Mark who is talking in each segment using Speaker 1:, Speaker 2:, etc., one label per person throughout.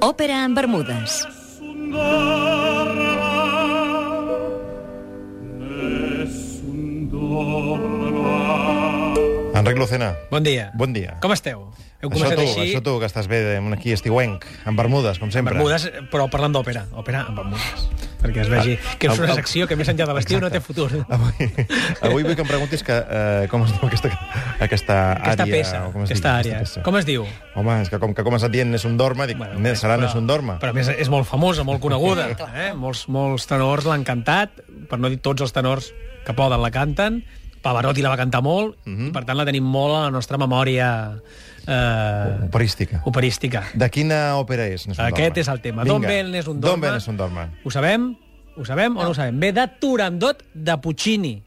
Speaker 1: Òpera en Bermudes.
Speaker 2: Enric Lucena,
Speaker 3: Bon dia.
Speaker 2: bon dia.
Speaker 3: Com esteu? Heu
Speaker 2: Això
Speaker 3: començat
Speaker 2: tu,
Speaker 3: així...
Speaker 2: això tu, que estàs bé, de- aquí estiuenc, amb bermudes, com sempre.
Speaker 3: Bermudes, però parlant d'òpera. Òpera amb Bermudes. Perquè es vegi
Speaker 2: Ah,
Speaker 3: que és una secció que més enllà de l'estiu no té futur.
Speaker 2: Avui, avui vull que em preguntis que, eh, com es diu aquesta, aquesta,
Speaker 3: Aquesta
Speaker 2: àrea.
Speaker 3: peça,
Speaker 2: o com es diu,
Speaker 3: aquesta àrea.
Speaker 2: peça.
Speaker 3: Com es diu?
Speaker 2: Home, és que com que comença dient és un dorma, dic, bueno,
Speaker 3: bé,
Speaker 2: serà
Speaker 3: però-
Speaker 2: és un dorma.
Speaker 3: Però a més és molt famosa, molt coneguda. eh? molts, molts tenors l'han cantat, per no dir tots els tenors que poden la canten. Pavarotti la va cantar molt,
Speaker 2: Mhm.
Speaker 3: i per tant la tenim molt a la nostra memòria eh,
Speaker 2: Operística.
Speaker 3: operística.
Speaker 2: De quina òpera és? Nessun
Speaker 3: Aquest
Speaker 2: Dorma?
Speaker 3: és el tema. D'on ve el Nessun Dorma?
Speaker 2: D'on ve el Nessun Dorma?
Speaker 3: Ho sabem? Ho sabem o no ho sabem? Ve de Turandot de Puccini.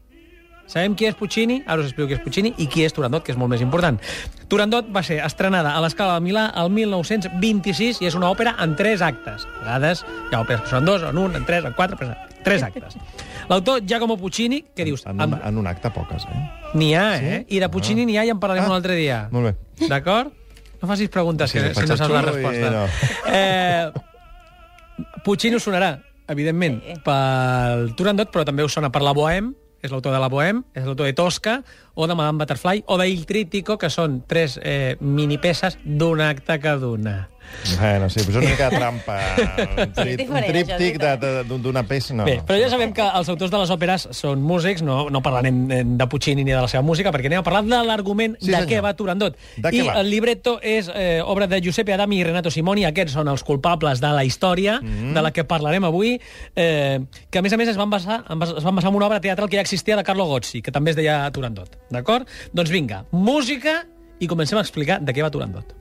Speaker 3: Sabem qui és Puccini, ara us explico qui és Puccini i qui és Turandot, que és molt més important. Turandot va ser estrenada a l'Escala de Milà el 1926 i és una òpera en tres actes. A vegades hi ha òperes que són dos, en un, en tres, en quatre, però tres actes. L'autor Giacomo Puccini, que dius...
Speaker 2: En, un, en un acte, poques, eh?
Speaker 3: N'hi ha, eh? I de Puccini n'hi ha i en parlarem
Speaker 2: Ah,
Speaker 3: un altre dia.
Speaker 2: molt bé.
Speaker 3: D'acord? No facis preguntes,
Speaker 2: Sí,
Speaker 3: que,
Speaker 2: no
Speaker 3: si no
Speaker 2: faig el
Speaker 3: saps la
Speaker 2: xulo
Speaker 3: resposta.
Speaker 2: i no.
Speaker 3: Eh, Puccini us sonarà, evidentment, pel Turandot, però també us sona per la Bohème, és l'autor de la Bohème, és l'autor de Tosca, o de Madame Butterfly, o de Il Trítico, que són tres eh, minipeces d'un acte cada una.
Speaker 2: Bueno, sí, però és una mica de trampa. Un, tri,
Speaker 4: diferent,
Speaker 2: un
Speaker 4: això,
Speaker 2: tríptic de- de- d'una peça, no.
Speaker 3: Bé, però ja sabem que els autors de les òperes són músics, no, no parlarem eh, de Puccini ni de la seva música, perquè anem a parlar de l'argument
Speaker 2: Sí,
Speaker 3: sí, de
Speaker 2: senyor.
Speaker 3: què va Turandot.
Speaker 2: De què
Speaker 3: I
Speaker 2: va?
Speaker 3: el libretto és eh, obra de Giuseppe Adami i Renato Simoni, aquests són els culpables de la història mm
Speaker 2: Mhm.
Speaker 3: -hmm. de la que parlarem avui, eh, que a més a més es van, basar, en bas- es van basar en una obra teatral que ja existia de Carlo Gozzi, que també es deia Turandot, d'acord? Doncs vinga, música i comencem a explicar de què va Turandot.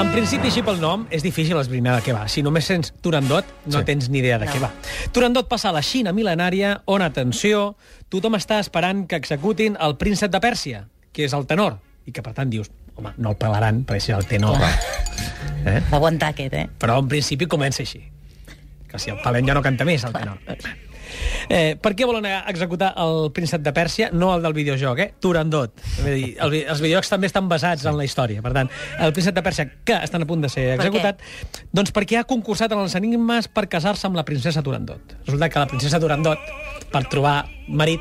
Speaker 3: En principi, així pel nom, és difícil esbrinar de què va. Si només sents Turandot, no
Speaker 2: Sí.
Speaker 3: sí. tens ni idea de
Speaker 4: No.
Speaker 3: què va. Turandot passa a la Xina mil·lenària, on, atenció, tothom està esperant que executin el príncep de Pèrsia, que és el tenor, i que, per tant, dius, home, no el pelaran, perquè és el tenor. Eh?
Speaker 4: Va aguantar aquest, eh?
Speaker 3: Però, en principi, comença així. Que si el pelem ja no canta més, el tenor. Eh, per què volen executar el príncep de Pèrsia? No el del videojoc, eh? Turandot. És a dir, el, vi- els videojocs també estan basats en la història. Per tant, el príncep de Pèrsia, que estan a punt de ser
Speaker 4: Per
Speaker 3: executat, doncs perquè ha concursat en els enigmes per casar-se amb la princesa Turandot. Resulta que la princesa Turandot, per trobar marit,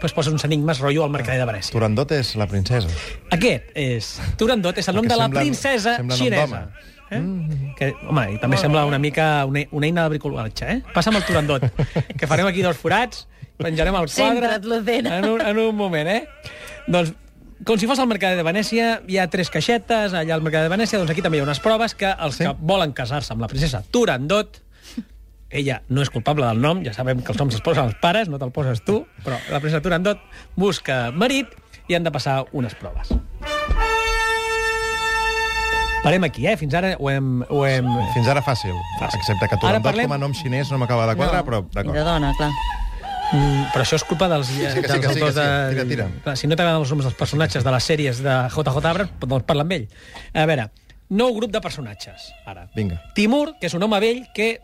Speaker 3: doncs posa uns enigmes rotllo al mercader de Venècia.
Speaker 2: Turandot és la princesa.
Speaker 3: Aquest és... Turandot és el nom
Speaker 2: Perquè
Speaker 3: de la
Speaker 2: sembla-
Speaker 3: princesa
Speaker 2: sembla nom
Speaker 3: xinesa.
Speaker 2: d'home. Mm.
Speaker 3: Eh? Que, home, i també sembla una mica una, una eina de bricolatge, eh? Passa amb el Turandot, que farem aquí dos forats, penjarem el quadre...
Speaker 4: Sempre et l'ordena.
Speaker 3: En un, en un moment, eh? Doncs com si fos al Mercader de Venècia, hi ha tres caixetes allà al Mercader de Venècia, doncs aquí també hi ha unes proves que els
Speaker 2: Sí.
Speaker 3: sí. que volen casar-se amb la princesa Turandot ella no és culpable del nom, ja sabem que els noms es posen els pares, no te'l poses tu, però la princesa Turandot busca marit i han de passar unes proves. Parem aquí, eh? Fins ara ho hem... Ho hem...
Speaker 2: Fins ara fàcil,
Speaker 3: Fàcil.
Speaker 2: excepte que
Speaker 3: Ara
Speaker 2: Turandot
Speaker 3: parlem-
Speaker 2: com a nom xinès no m'acaba de quadrar, però
Speaker 4: I de
Speaker 2: d'acord.
Speaker 4: dona, clar.
Speaker 3: Mm, però això és culpa dels, eh,
Speaker 2: sí, que sí,
Speaker 3: dels
Speaker 2: que sí, que
Speaker 3: autors
Speaker 2: sí. Tira, tira.
Speaker 3: Clar, si no t'agraden els noms dels personatges de les sèries de JJ Abrams, doncs parla amb ell. A veure, nou grup de personatges, ara.
Speaker 2: Vinga.
Speaker 3: Timur, que és un home vell que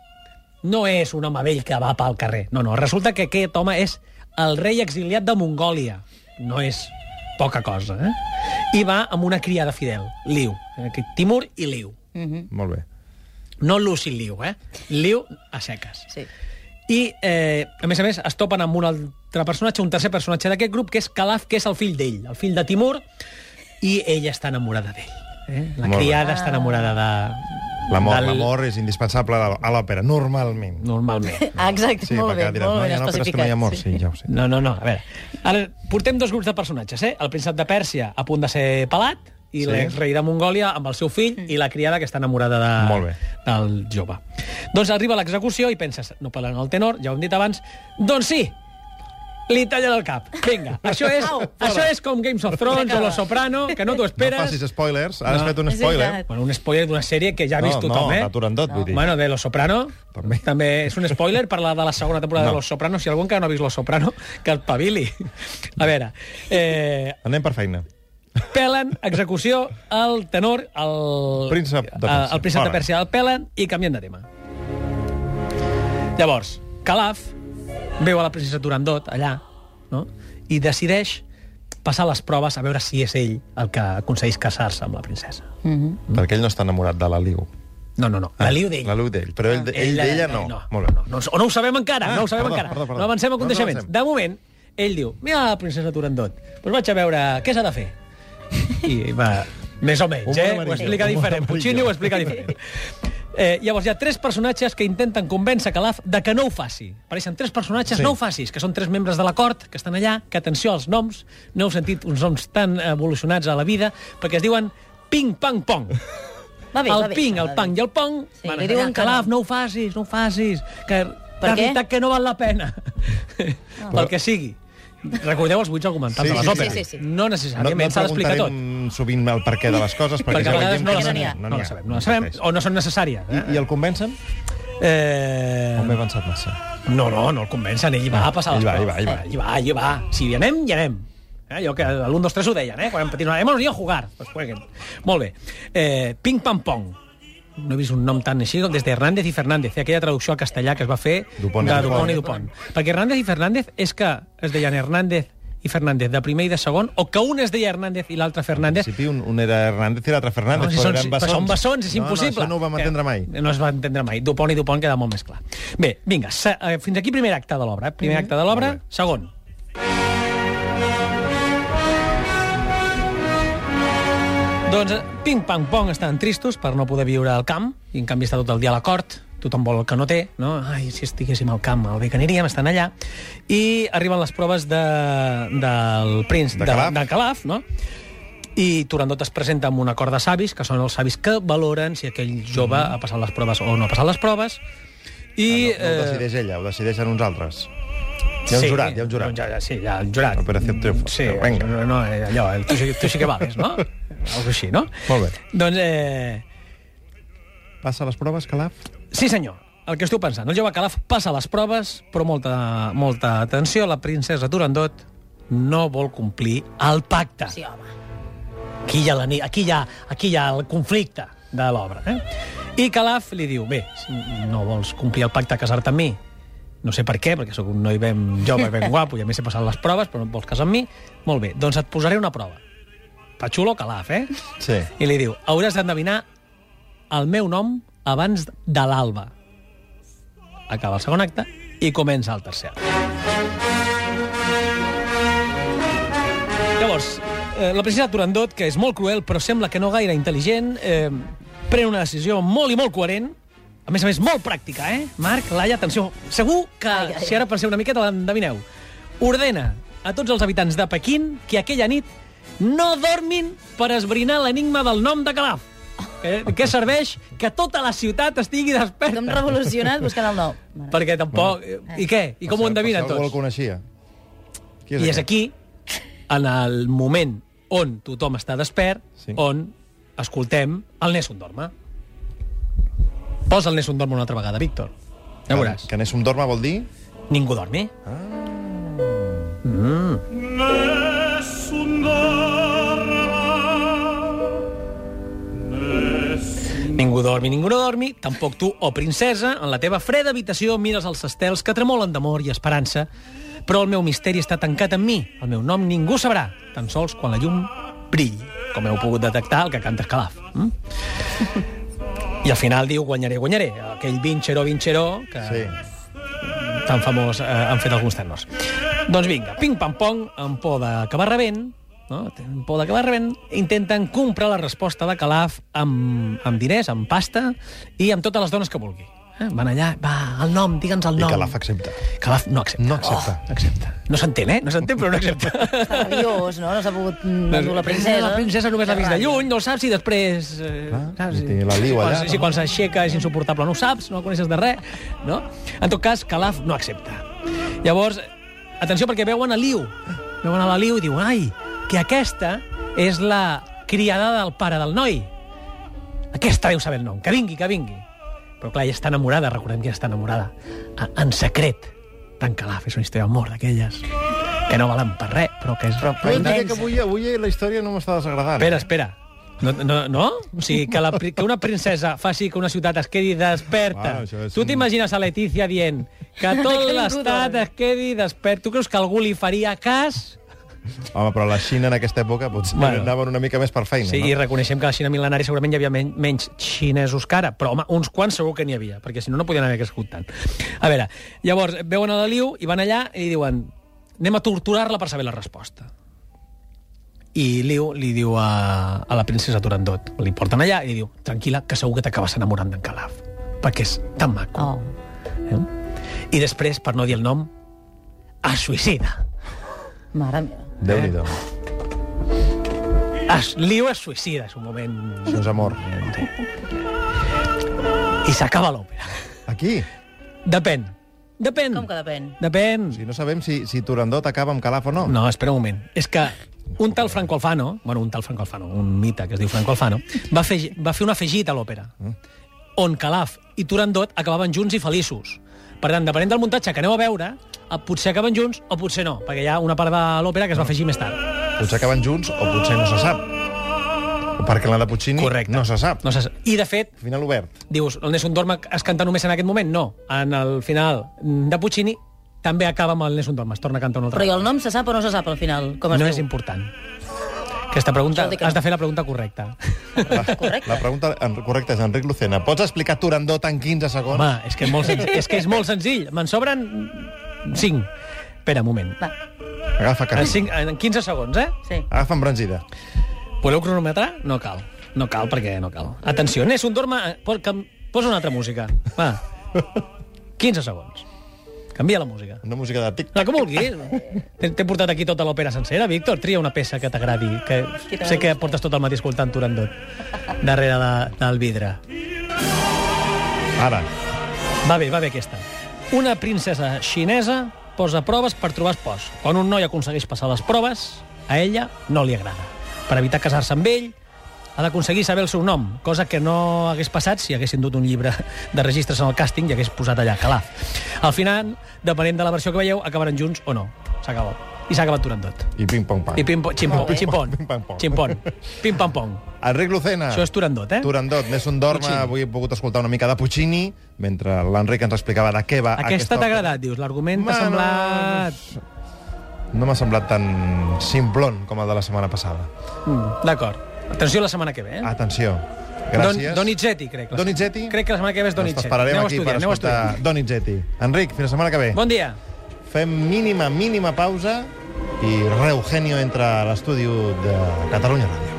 Speaker 3: no és un home vell que va pel carrer. No, no, resulta que aquest home és el rei exiliat de Mongòlia. No és poca cosa, eh? I va amb una criada fidel, Liu. Aquest Timur i Liu.
Speaker 1: Mhm.
Speaker 2: Molt bé.
Speaker 3: No Lucy Liu, eh? Liu a seques.
Speaker 4: Sí.
Speaker 3: I, eh, a més a més, es topen amb un altre personatge, un tercer personatge d'aquest grup, que és Calaf, que és el fill d'ell, el fill de Timur, i ella està enamorada d'ell. Eh? La
Speaker 2: Molt bé.
Speaker 3: criada està enamorada de...
Speaker 2: L'amor
Speaker 3: del-
Speaker 2: l'amor és indispensable a la- a l'òpera, normalment.
Speaker 3: Normalment.
Speaker 4: Ah, exacte,
Speaker 2: Sí,
Speaker 4: molt
Speaker 2: perquè
Speaker 4: bé,
Speaker 2: diràs,
Speaker 4: molt
Speaker 2: no,
Speaker 4: ben
Speaker 2: hi ha òperes que
Speaker 4: especificat.
Speaker 2: no hi ha amor, sí, ja ho sé.
Speaker 3: No, no, no, a veure. Ara, portem dos grups de personatges, eh? El príncep de Pèrsia, a punt de ser pelat, i
Speaker 2: Sí.
Speaker 3: sí. l'exrei de Mongòlia amb el seu fill i la criada que està enamorada de,
Speaker 2: Molt bé.
Speaker 3: del jove. Doncs arriba l'execució i penses, no parlen el tenor, ja ho hem dit abans, doncs sí, li tallen el cap. Vinga, això és,
Speaker 4: Au,
Speaker 3: això és com Games of Thrones o Lo Soprano, que no
Speaker 2: No
Speaker 3: t'ho esperes.
Speaker 2: facis spoilers, ara has
Speaker 3: No.
Speaker 2: fet un
Speaker 4: És
Speaker 2: spoiler.
Speaker 4: veritat.
Speaker 3: Bueno, un spoiler d'una sèrie que ja ha
Speaker 2: No,
Speaker 3: vist tothom,
Speaker 2: no,
Speaker 3: eh?
Speaker 2: de Turandot, vull dir.
Speaker 3: Bueno, de Los Soprano.
Speaker 2: També.
Speaker 3: També. També és un spoiler parlar de la segona temporada
Speaker 2: No.
Speaker 3: de Los Soprano. Si algú encara no ha vist Los Soprano, que el pavili. A veure, eh,
Speaker 2: Anem per feina.
Speaker 3: pelen execució al tenor, al...
Speaker 2: Príncep de
Speaker 3: a-
Speaker 2: Pèrsia.
Speaker 3: Al príncep
Speaker 2: Fora.
Speaker 3: de Pèrsia. El pelen i canvien de tema. Llavors, Calaf veu a la princesa Turandot allà, no? I decideix passar les proves a veure si és ell el que aconsegueix casar-se amb la princesa.
Speaker 1: Mhm.
Speaker 2: Perquè ell no està enamorat de la Liu.
Speaker 3: No, no, no, la liu d'ell.
Speaker 2: Ah, La Liu d'ell, però ell, ell
Speaker 3: la-
Speaker 2: d'ella no.
Speaker 3: eh, no.
Speaker 2: Molt bé.
Speaker 3: No, no, no ho sabem encara,
Speaker 2: Ah,
Speaker 3: ah, no ho sabem
Speaker 2: perdó,
Speaker 3: encara.
Speaker 2: perdó, perdó.
Speaker 3: No avancem
Speaker 2: No,
Speaker 3: a
Speaker 2: no
Speaker 3: coneixements.
Speaker 2: avancem.
Speaker 3: de moment, ell diu, mira la princesa Turandot, doncs vaig a veure què s'ha de fer. I va, més o menys,
Speaker 2: Un
Speaker 3: eh?
Speaker 2: bon
Speaker 3: Ho explica
Speaker 2: amarillo, un bon
Speaker 3: diferent,
Speaker 2: amarillo.
Speaker 3: Puccini ho explica diferent. Eh, llavors hi ha tres personatges que intenten convèncer Calaf de que no ho faci. Apareixen tres personatges,
Speaker 2: Sí.
Speaker 3: sí. no ho facis, que són tres membres de la cort, que estan allà, que atenció als noms, no heu sentit uns noms tan evolucionats a la vida, perquè es diuen Ping Pang Pong
Speaker 1: Va bé,
Speaker 3: el
Speaker 1: va bé.
Speaker 3: ping,
Speaker 1: això,
Speaker 3: el
Speaker 1: va
Speaker 3: pang
Speaker 1: bé.
Speaker 3: i el pong,
Speaker 1: Sí,
Speaker 3: sí,
Speaker 1: li
Speaker 3: van
Speaker 1: diuen
Speaker 3: diuen
Speaker 1: que
Speaker 3: que l'af,
Speaker 1: no.
Speaker 3: no ho facis, no ho facis, que
Speaker 1: Per
Speaker 3: per
Speaker 1: què?
Speaker 3: veritat que no val la pena, ah. pel que sigui. Recordeu els buits
Speaker 2: Sí,
Speaker 3: argumentants de les
Speaker 2: sí,
Speaker 3: òperes.
Speaker 1: sí, sí, sí.
Speaker 3: No
Speaker 2: No, no
Speaker 3: necessàriament
Speaker 2: et
Speaker 3: s'ha d'explicar tot.
Speaker 2: preguntarem sovint el perquè de les coses, perquè,
Speaker 3: Perquè a
Speaker 2: ja
Speaker 3: vegades
Speaker 2: veiem
Speaker 3: no
Speaker 2: que
Speaker 3: les
Speaker 1: n'hi ha.
Speaker 3: sabem, no,
Speaker 2: n'hi
Speaker 3: la
Speaker 2: ha.
Speaker 3: sabem, no la sabem,
Speaker 2: existeix.
Speaker 3: o no són necessàries.
Speaker 2: I,
Speaker 3: Eh?
Speaker 2: I el convencen? Mm. O m'he
Speaker 3: Eh...
Speaker 2: avançat massa?
Speaker 3: No, no, no el convencen, ell hi va a passar
Speaker 2: Ell
Speaker 3: les
Speaker 2: va,
Speaker 3: proves.
Speaker 2: ell va, ell va.
Speaker 3: Hi va, hi va. Si hi anem, hi anem. Eh, allò que l'1, 2, 3 ho deien, eh? Quan eren petits, no, hemos ido a jugar. Pues jueguen. Molt bé. Eh, Ping Pam Pong. No he vist un nom tan així com des de Hernández i Fernández, eh, aquella traducció al castellà que es va fer
Speaker 2: Dupont i
Speaker 3: de
Speaker 2: Dupont.
Speaker 3: Dupont i Dupont. Perquè Hernández i Fernández és que es deien Hernández i Fernández de primer i de segon, o que un es deia Hernández i l'altre Fernández,
Speaker 2: principi un, un era Hernández i l'altre Fernández,
Speaker 3: no, si
Speaker 2: però
Speaker 3: són,
Speaker 2: eren
Speaker 3: si-
Speaker 2: bessons.
Speaker 3: Però són bessons, és
Speaker 2: No,
Speaker 3: impossible. Eh,
Speaker 2: No, això no ho vam entendre mai.
Speaker 3: Que No es va entendre mai. Dupont i Dupont queda molt més clar. Bé, vinga, se, eh, fins aquí primer acte de l'obra. Eh? Primer acte de l'obra,
Speaker 2: Mhm. Molt bé.
Speaker 3: segon. Doncs eh, Ping Pang Pong estan tristos per no poder viure al camp, i en canvi està tot el dia a la cort, tothom vol el que no té, no? Ai, si estiguéssim al camp, el bé que aniríem, estan allà. I arriben les proves de, del prins,
Speaker 2: De Calaf.
Speaker 3: de Calaf no? I Turandot es presenta amb un acord de savis, que són els savis que valoren si aquell jove ha passat les proves o no ha passat les proves. I,
Speaker 2: Mm. Ah, No, no ho decideix ella, ho decideixen uns altres. Hi
Speaker 3: eh,
Speaker 2: ha un
Speaker 3: sí, Doncs
Speaker 2: jurat, hi ha un jurat.
Speaker 3: Ja, ja, sí, hi ha un jurat.
Speaker 2: Operació Triunfo.
Speaker 3: Sí,
Speaker 2: Vinga.
Speaker 3: no, no, eh, allò, el tu, sí- tu sí que vales, no? Algo així, no?
Speaker 2: Molt bé.
Speaker 3: Doncs, eh,
Speaker 2: Passa les proves, Calaf?
Speaker 3: sí senyor, el que esteu pensant. El jove Calaf passa les proves, però molta, molta atenció, la princesa Turandot no vol complir el pacte.
Speaker 1: Sí, home.
Speaker 3: Aquí hi ha, la, ni- aquí hi ha, aquí hi ha el conflicte de l'obra. Eh? I Calaf li diu, bé, si no vols complir el pacte de casar-te amb mi, no sé per què, perquè sóc un noi ben jove, ben guapo, i a més he passat les proves, però no et vols casar amb mi, molt bé, doncs et posaré una prova. Patxulo Calaf, eh?
Speaker 2: Sí.
Speaker 3: I li diu, hauràs d'endevinar el meu nom abans de l'alba. Acaba el segon acte i comença el tercer. Llavors, eh, la princesa Turandot, que és molt cruel, però sembla que no gaire intel·ligent, eh, pren una decisió molt i molt coherent, a més a més, molt pràctica, eh? Marc, Laia, atenció. Segur que, ai, ai, si ara penseu una miqueta, l'endevineu. Ordena a tots els habitants de Pequín que aquella nit no dormin per esbrinar l'enigma del nom de Calaf. Eh, que serveix que tota la ciutat estigui
Speaker 1: Tothom
Speaker 3: desperta.
Speaker 1: revolucionat buscant el nou. Mare.
Speaker 3: Perquè tampoc... Eh. I què? I com ho endevinen
Speaker 2: Si algú
Speaker 3: tots?
Speaker 2: el coneixia. Qui
Speaker 3: I és
Speaker 2: aquest?
Speaker 3: aquí, en el moment on tothom està despert,
Speaker 2: Sí.
Speaker 3: sí. on escoltem el Nessun Dorma. Posa el Nessun Dorma una altra vegada, Víctor. Ja veuràs.
Speaker 2: Que Nessum Dorma vol dir...
Speaker 3: Ningú dormi.
Speaker 4: Nessun dorma,
Speaker 3: Ningú dormi, ningú no dormi. Tampoc tu, o princesa, en la teva freda habitació mires els estels que tremolen d'amor i esperança. Però el meu misteri està tancat en mi. El meu nom ningú sabrà, tan sols quan la llum brilli, com heu pogut detectar el que canta Escalaf. Mm? I al final diu guanyaré, guanyaré. Aquell vinxeró, vinxeró, que
Speaker 2: Sí.
Speaker 3: sí. tan famós eh, han fet alguns tenors. Doncs vinga, ping-pam-pong, amb por d'acabar rebent, no? amb por d'acabar rebent, intenten comprar la resposta de Calaf amb, amb diners, amb pasta i amb totes les dones que vulgui. Eh? Van allà, va, el nom, digue'ns el
Speaker 2: I
Speaker 3: nom.
Speaker 2: Calaf accepta.
Speaker 3: Calaf no accepta.
Speaker 2: No accepta.
Speaker 3: Oh, accepta. No s'entén, eh? No s'entén, però no accepta.
Speaker 1: Està rabiós, no? No s'ha pogut mm, endur la princesa.
Speaker 3: Doncs La princesa només l'ha vist de lluny, no ho saps, i després... Eh,
Speaker 2: Clar, i té la liu allà,
Speaker 3: Quan,
Speaker 2: no?
Speaker 3: si quan s'aixeca és insuportable, no ho saps, no coneixes de res, no? En tot cas, Calaf no accepta. Llavors, atenció, perquè veuen a Liu. Veuen a la Liu i diuen, ai, que aquesta és la criada del pare del noi. Aquesta deu saber el nom. Que vingui, que vingui. Però clar, ella està enamorada, recordem que ella està enamorada. En- En secret. Tan calaf, és una història d'amor d'aquelles. Que no valen per res, però que és... Però,
Speaker 2: Però
Speaker 3: però...
Speaker 2: jo diria que avui, avui la història no m'està desagradant.
Speaker 3: Espera, espera. No, no, no? O sigui, que, la, pri- que una princesa faci que una ciutat es quedi desperta.
Speaker 2: Bueno, això és
Speaker 3: tu
Speaker 2: un-
Speaker 3: t'imagines a Letícia dient que tot
Speaker 1: ningú
Speaker 3: l'estat
Speaker 1: dormi.
Speaker 3: es quedi despert. Tu creus que algú li faria cas?
Speaker 2: Home, però la Xina en aquesta època potser
Speaker 3: Bueno.
Speaker 2: bueno. anaven una mica més per feina,
Speaker 3: Sí, i
Speaker 2: no?
Speaker 3: reconeixem que a la Xina mil·lenària segurament hi havia men menys xinesos que ara, però home, uns quants segur que n'hi havia, perquè si no, no podien haver crescut tant. A veure, llavors, veuen a la Liu i van allà i li diuen anem a torturar-la per saber la resposta. I Liu li diu a, a la princesa Turandot, li porten allà i li diu, tranquil·la, que segur que t'acabes enamorant d'en Calaf, perquè és tan maco.
Speaker 1: Oh.
Speaker 3: Eh? I després, per no dir el nom, es suïcida.
Speaker 1: Mare meva.
Speaker 2: Déu-n'hi-do.
Speaker 3: Eh. Es, Liu es suïcida, és un moment...
Speaker 2: Això és amor.
Speaker 3: I s'acaba l'òpera.
Speaker 2: Aquí?
Speaker 3: Depèn. Depèn.
Speaker 1: Com que depèn?
Speaker 3: Depèn.
Speaker 2: Si no sabem si, si Turandot acaba amb Calaf o no.
Speaker 3: No, espera un moment. És que un tal Franco Alfano, bueno, un tal Franco Alfano, un mite que es diu Franco Alfano, va fer, va fer un afegit a l'òpera, on Calaf i Turandot acabaven junts i feliços. Per tant, depenent del muntatge que aneu a veure, eh, potser acaben junts o potser no, perquè hi ha una part de l'òpera que es va afegir més tard.
Speaker 2: Potser acaben junts o potser no se sap. Perquè la de Puccini
Speaker 3: Correcte.
Speaker 2: no se sap.
Speaker 3: No se sap. I, de fet,
Speaker 2: Final obert.
Speaker 3: dius, el Nessun Dorma es canta només en aquest moment? No. En el final de Puccini també acaba amb el Nessun Dorma, es torna a cantar un altre
Speaker 1: Però i el nom se sap o no se sap al final? Com es
Speaker 3: No
Speaker 1: diu?
Speaker 3: és important. Aquesta pregunta,
Speaker 1: Això vol dir que
Speaker 3: has
Speaker 1: no.
Speaker 3: de fer la pregunta correcta.
Speaker 1: Correcte.
Speaker 2: La pregunta en- correcta és, Enric Lucena, pots explicar Turandot en 15 segons?
Speaker 3: Home, és que és molt senzill. és que és molt senzill. Me'n sobren 5. Espera, un moment.
Speaker 1: Va,
Speaker 2: Agafa
Speaker 3: En,
Speaker 2: carrer.
Speaker 3: 5, en 15 segons, eh?
Speaker 1: sí.
Speaker 2: Agafa embranzida.
Speaker 3: Voleu cronometrar? No cal. No cal, perquè no cal. Atenció, n'és un dorma... po- que- Posa una altra música. Va. 15 segons. Canvia la música.
Speaker 2: Una música de tic.
Speaker 3: La que vulguis. T'he t'he portat aquí tota l'òpera sencera, Víctor. Tria una peça que t'agradi,
Speaker 1: Que
Speaker 3: que
Speaker 1: t'agradi.
Speaker 3: sé que portes tot el matí escoltant Turandot darrere de, del vidre.
Speaker 2: Ara.
Speaker 3: Va bé, va bé aquesta. Una princesa xinesa posa proves per trobar espòs. Quan un noi aconsegueix passar les proves, a ella no li agrada. Per evitar casar-se amb ell, ha d'aconseguir saber el seu nom, cosa que no hagués passat si haguessin dut un llibre de registres en el càsting i hagués posat allà Calaf. Al final, depenent de la versió que veieu, acabaran junts o no. S'acaba. I s'ha acabat durant tot.
Speaker 2: I ping-pong-pang.
Speaker 3: I pim, ximpon,
Speaker 2: Molt bé.
Speaker 3: ximpon,
Speaker 2: Pim-pam-pom.
Speaker 3: ximpon, pim-pam-pong.
Speaker 2: Enric Lucena.
Speaker 3: Això és Turandot, eh?
Speaker 2: Turandot, Nessun Dorma,
Speaker 3: Puccini.
Speaker 2: avui he pogut escoltar una mica de Puccini, mentre l'Enric ens explicava de què va
Speaker 3: Aquesta t'ha
Speaker 2: òpera.
Speaker 3: agradat, dius. L'argument t'ha
Speaker 2: Bueno,
Speaker 3: semblat...
Speaker 2: No m'ha semblat tan simplon com el de la setmana passada.
Speaker 3: Mm, D'acord. Atenció la setmana que ve, eh?
Speaker 2: Atenció. Ah, Gràcies.
Speaker 3: Don, Donizetti, crec.
Speaker 2: Donizetti?
Speaker 3: Crec que la setmana que ve és
Speaker 2: Doncs
Speaker 3: Donizetti.
Speaker 2: t'esperarem
Speaker 3: Aneu a
Speaker 2: aquí
Speaker 3: estudiar,
Speaker 2: per
Speaker 3: aneu a
Speaker 2: escoltar
Speaker 3: estudiar.
Speaker 2: Donizetti. Enric, fins la setmana que ve.
Speaker 3: Bon dia.
Speaker 2: Fem mínima, mínima pausa i Reugenio entra a l'estudi de Catalunya Ràdio.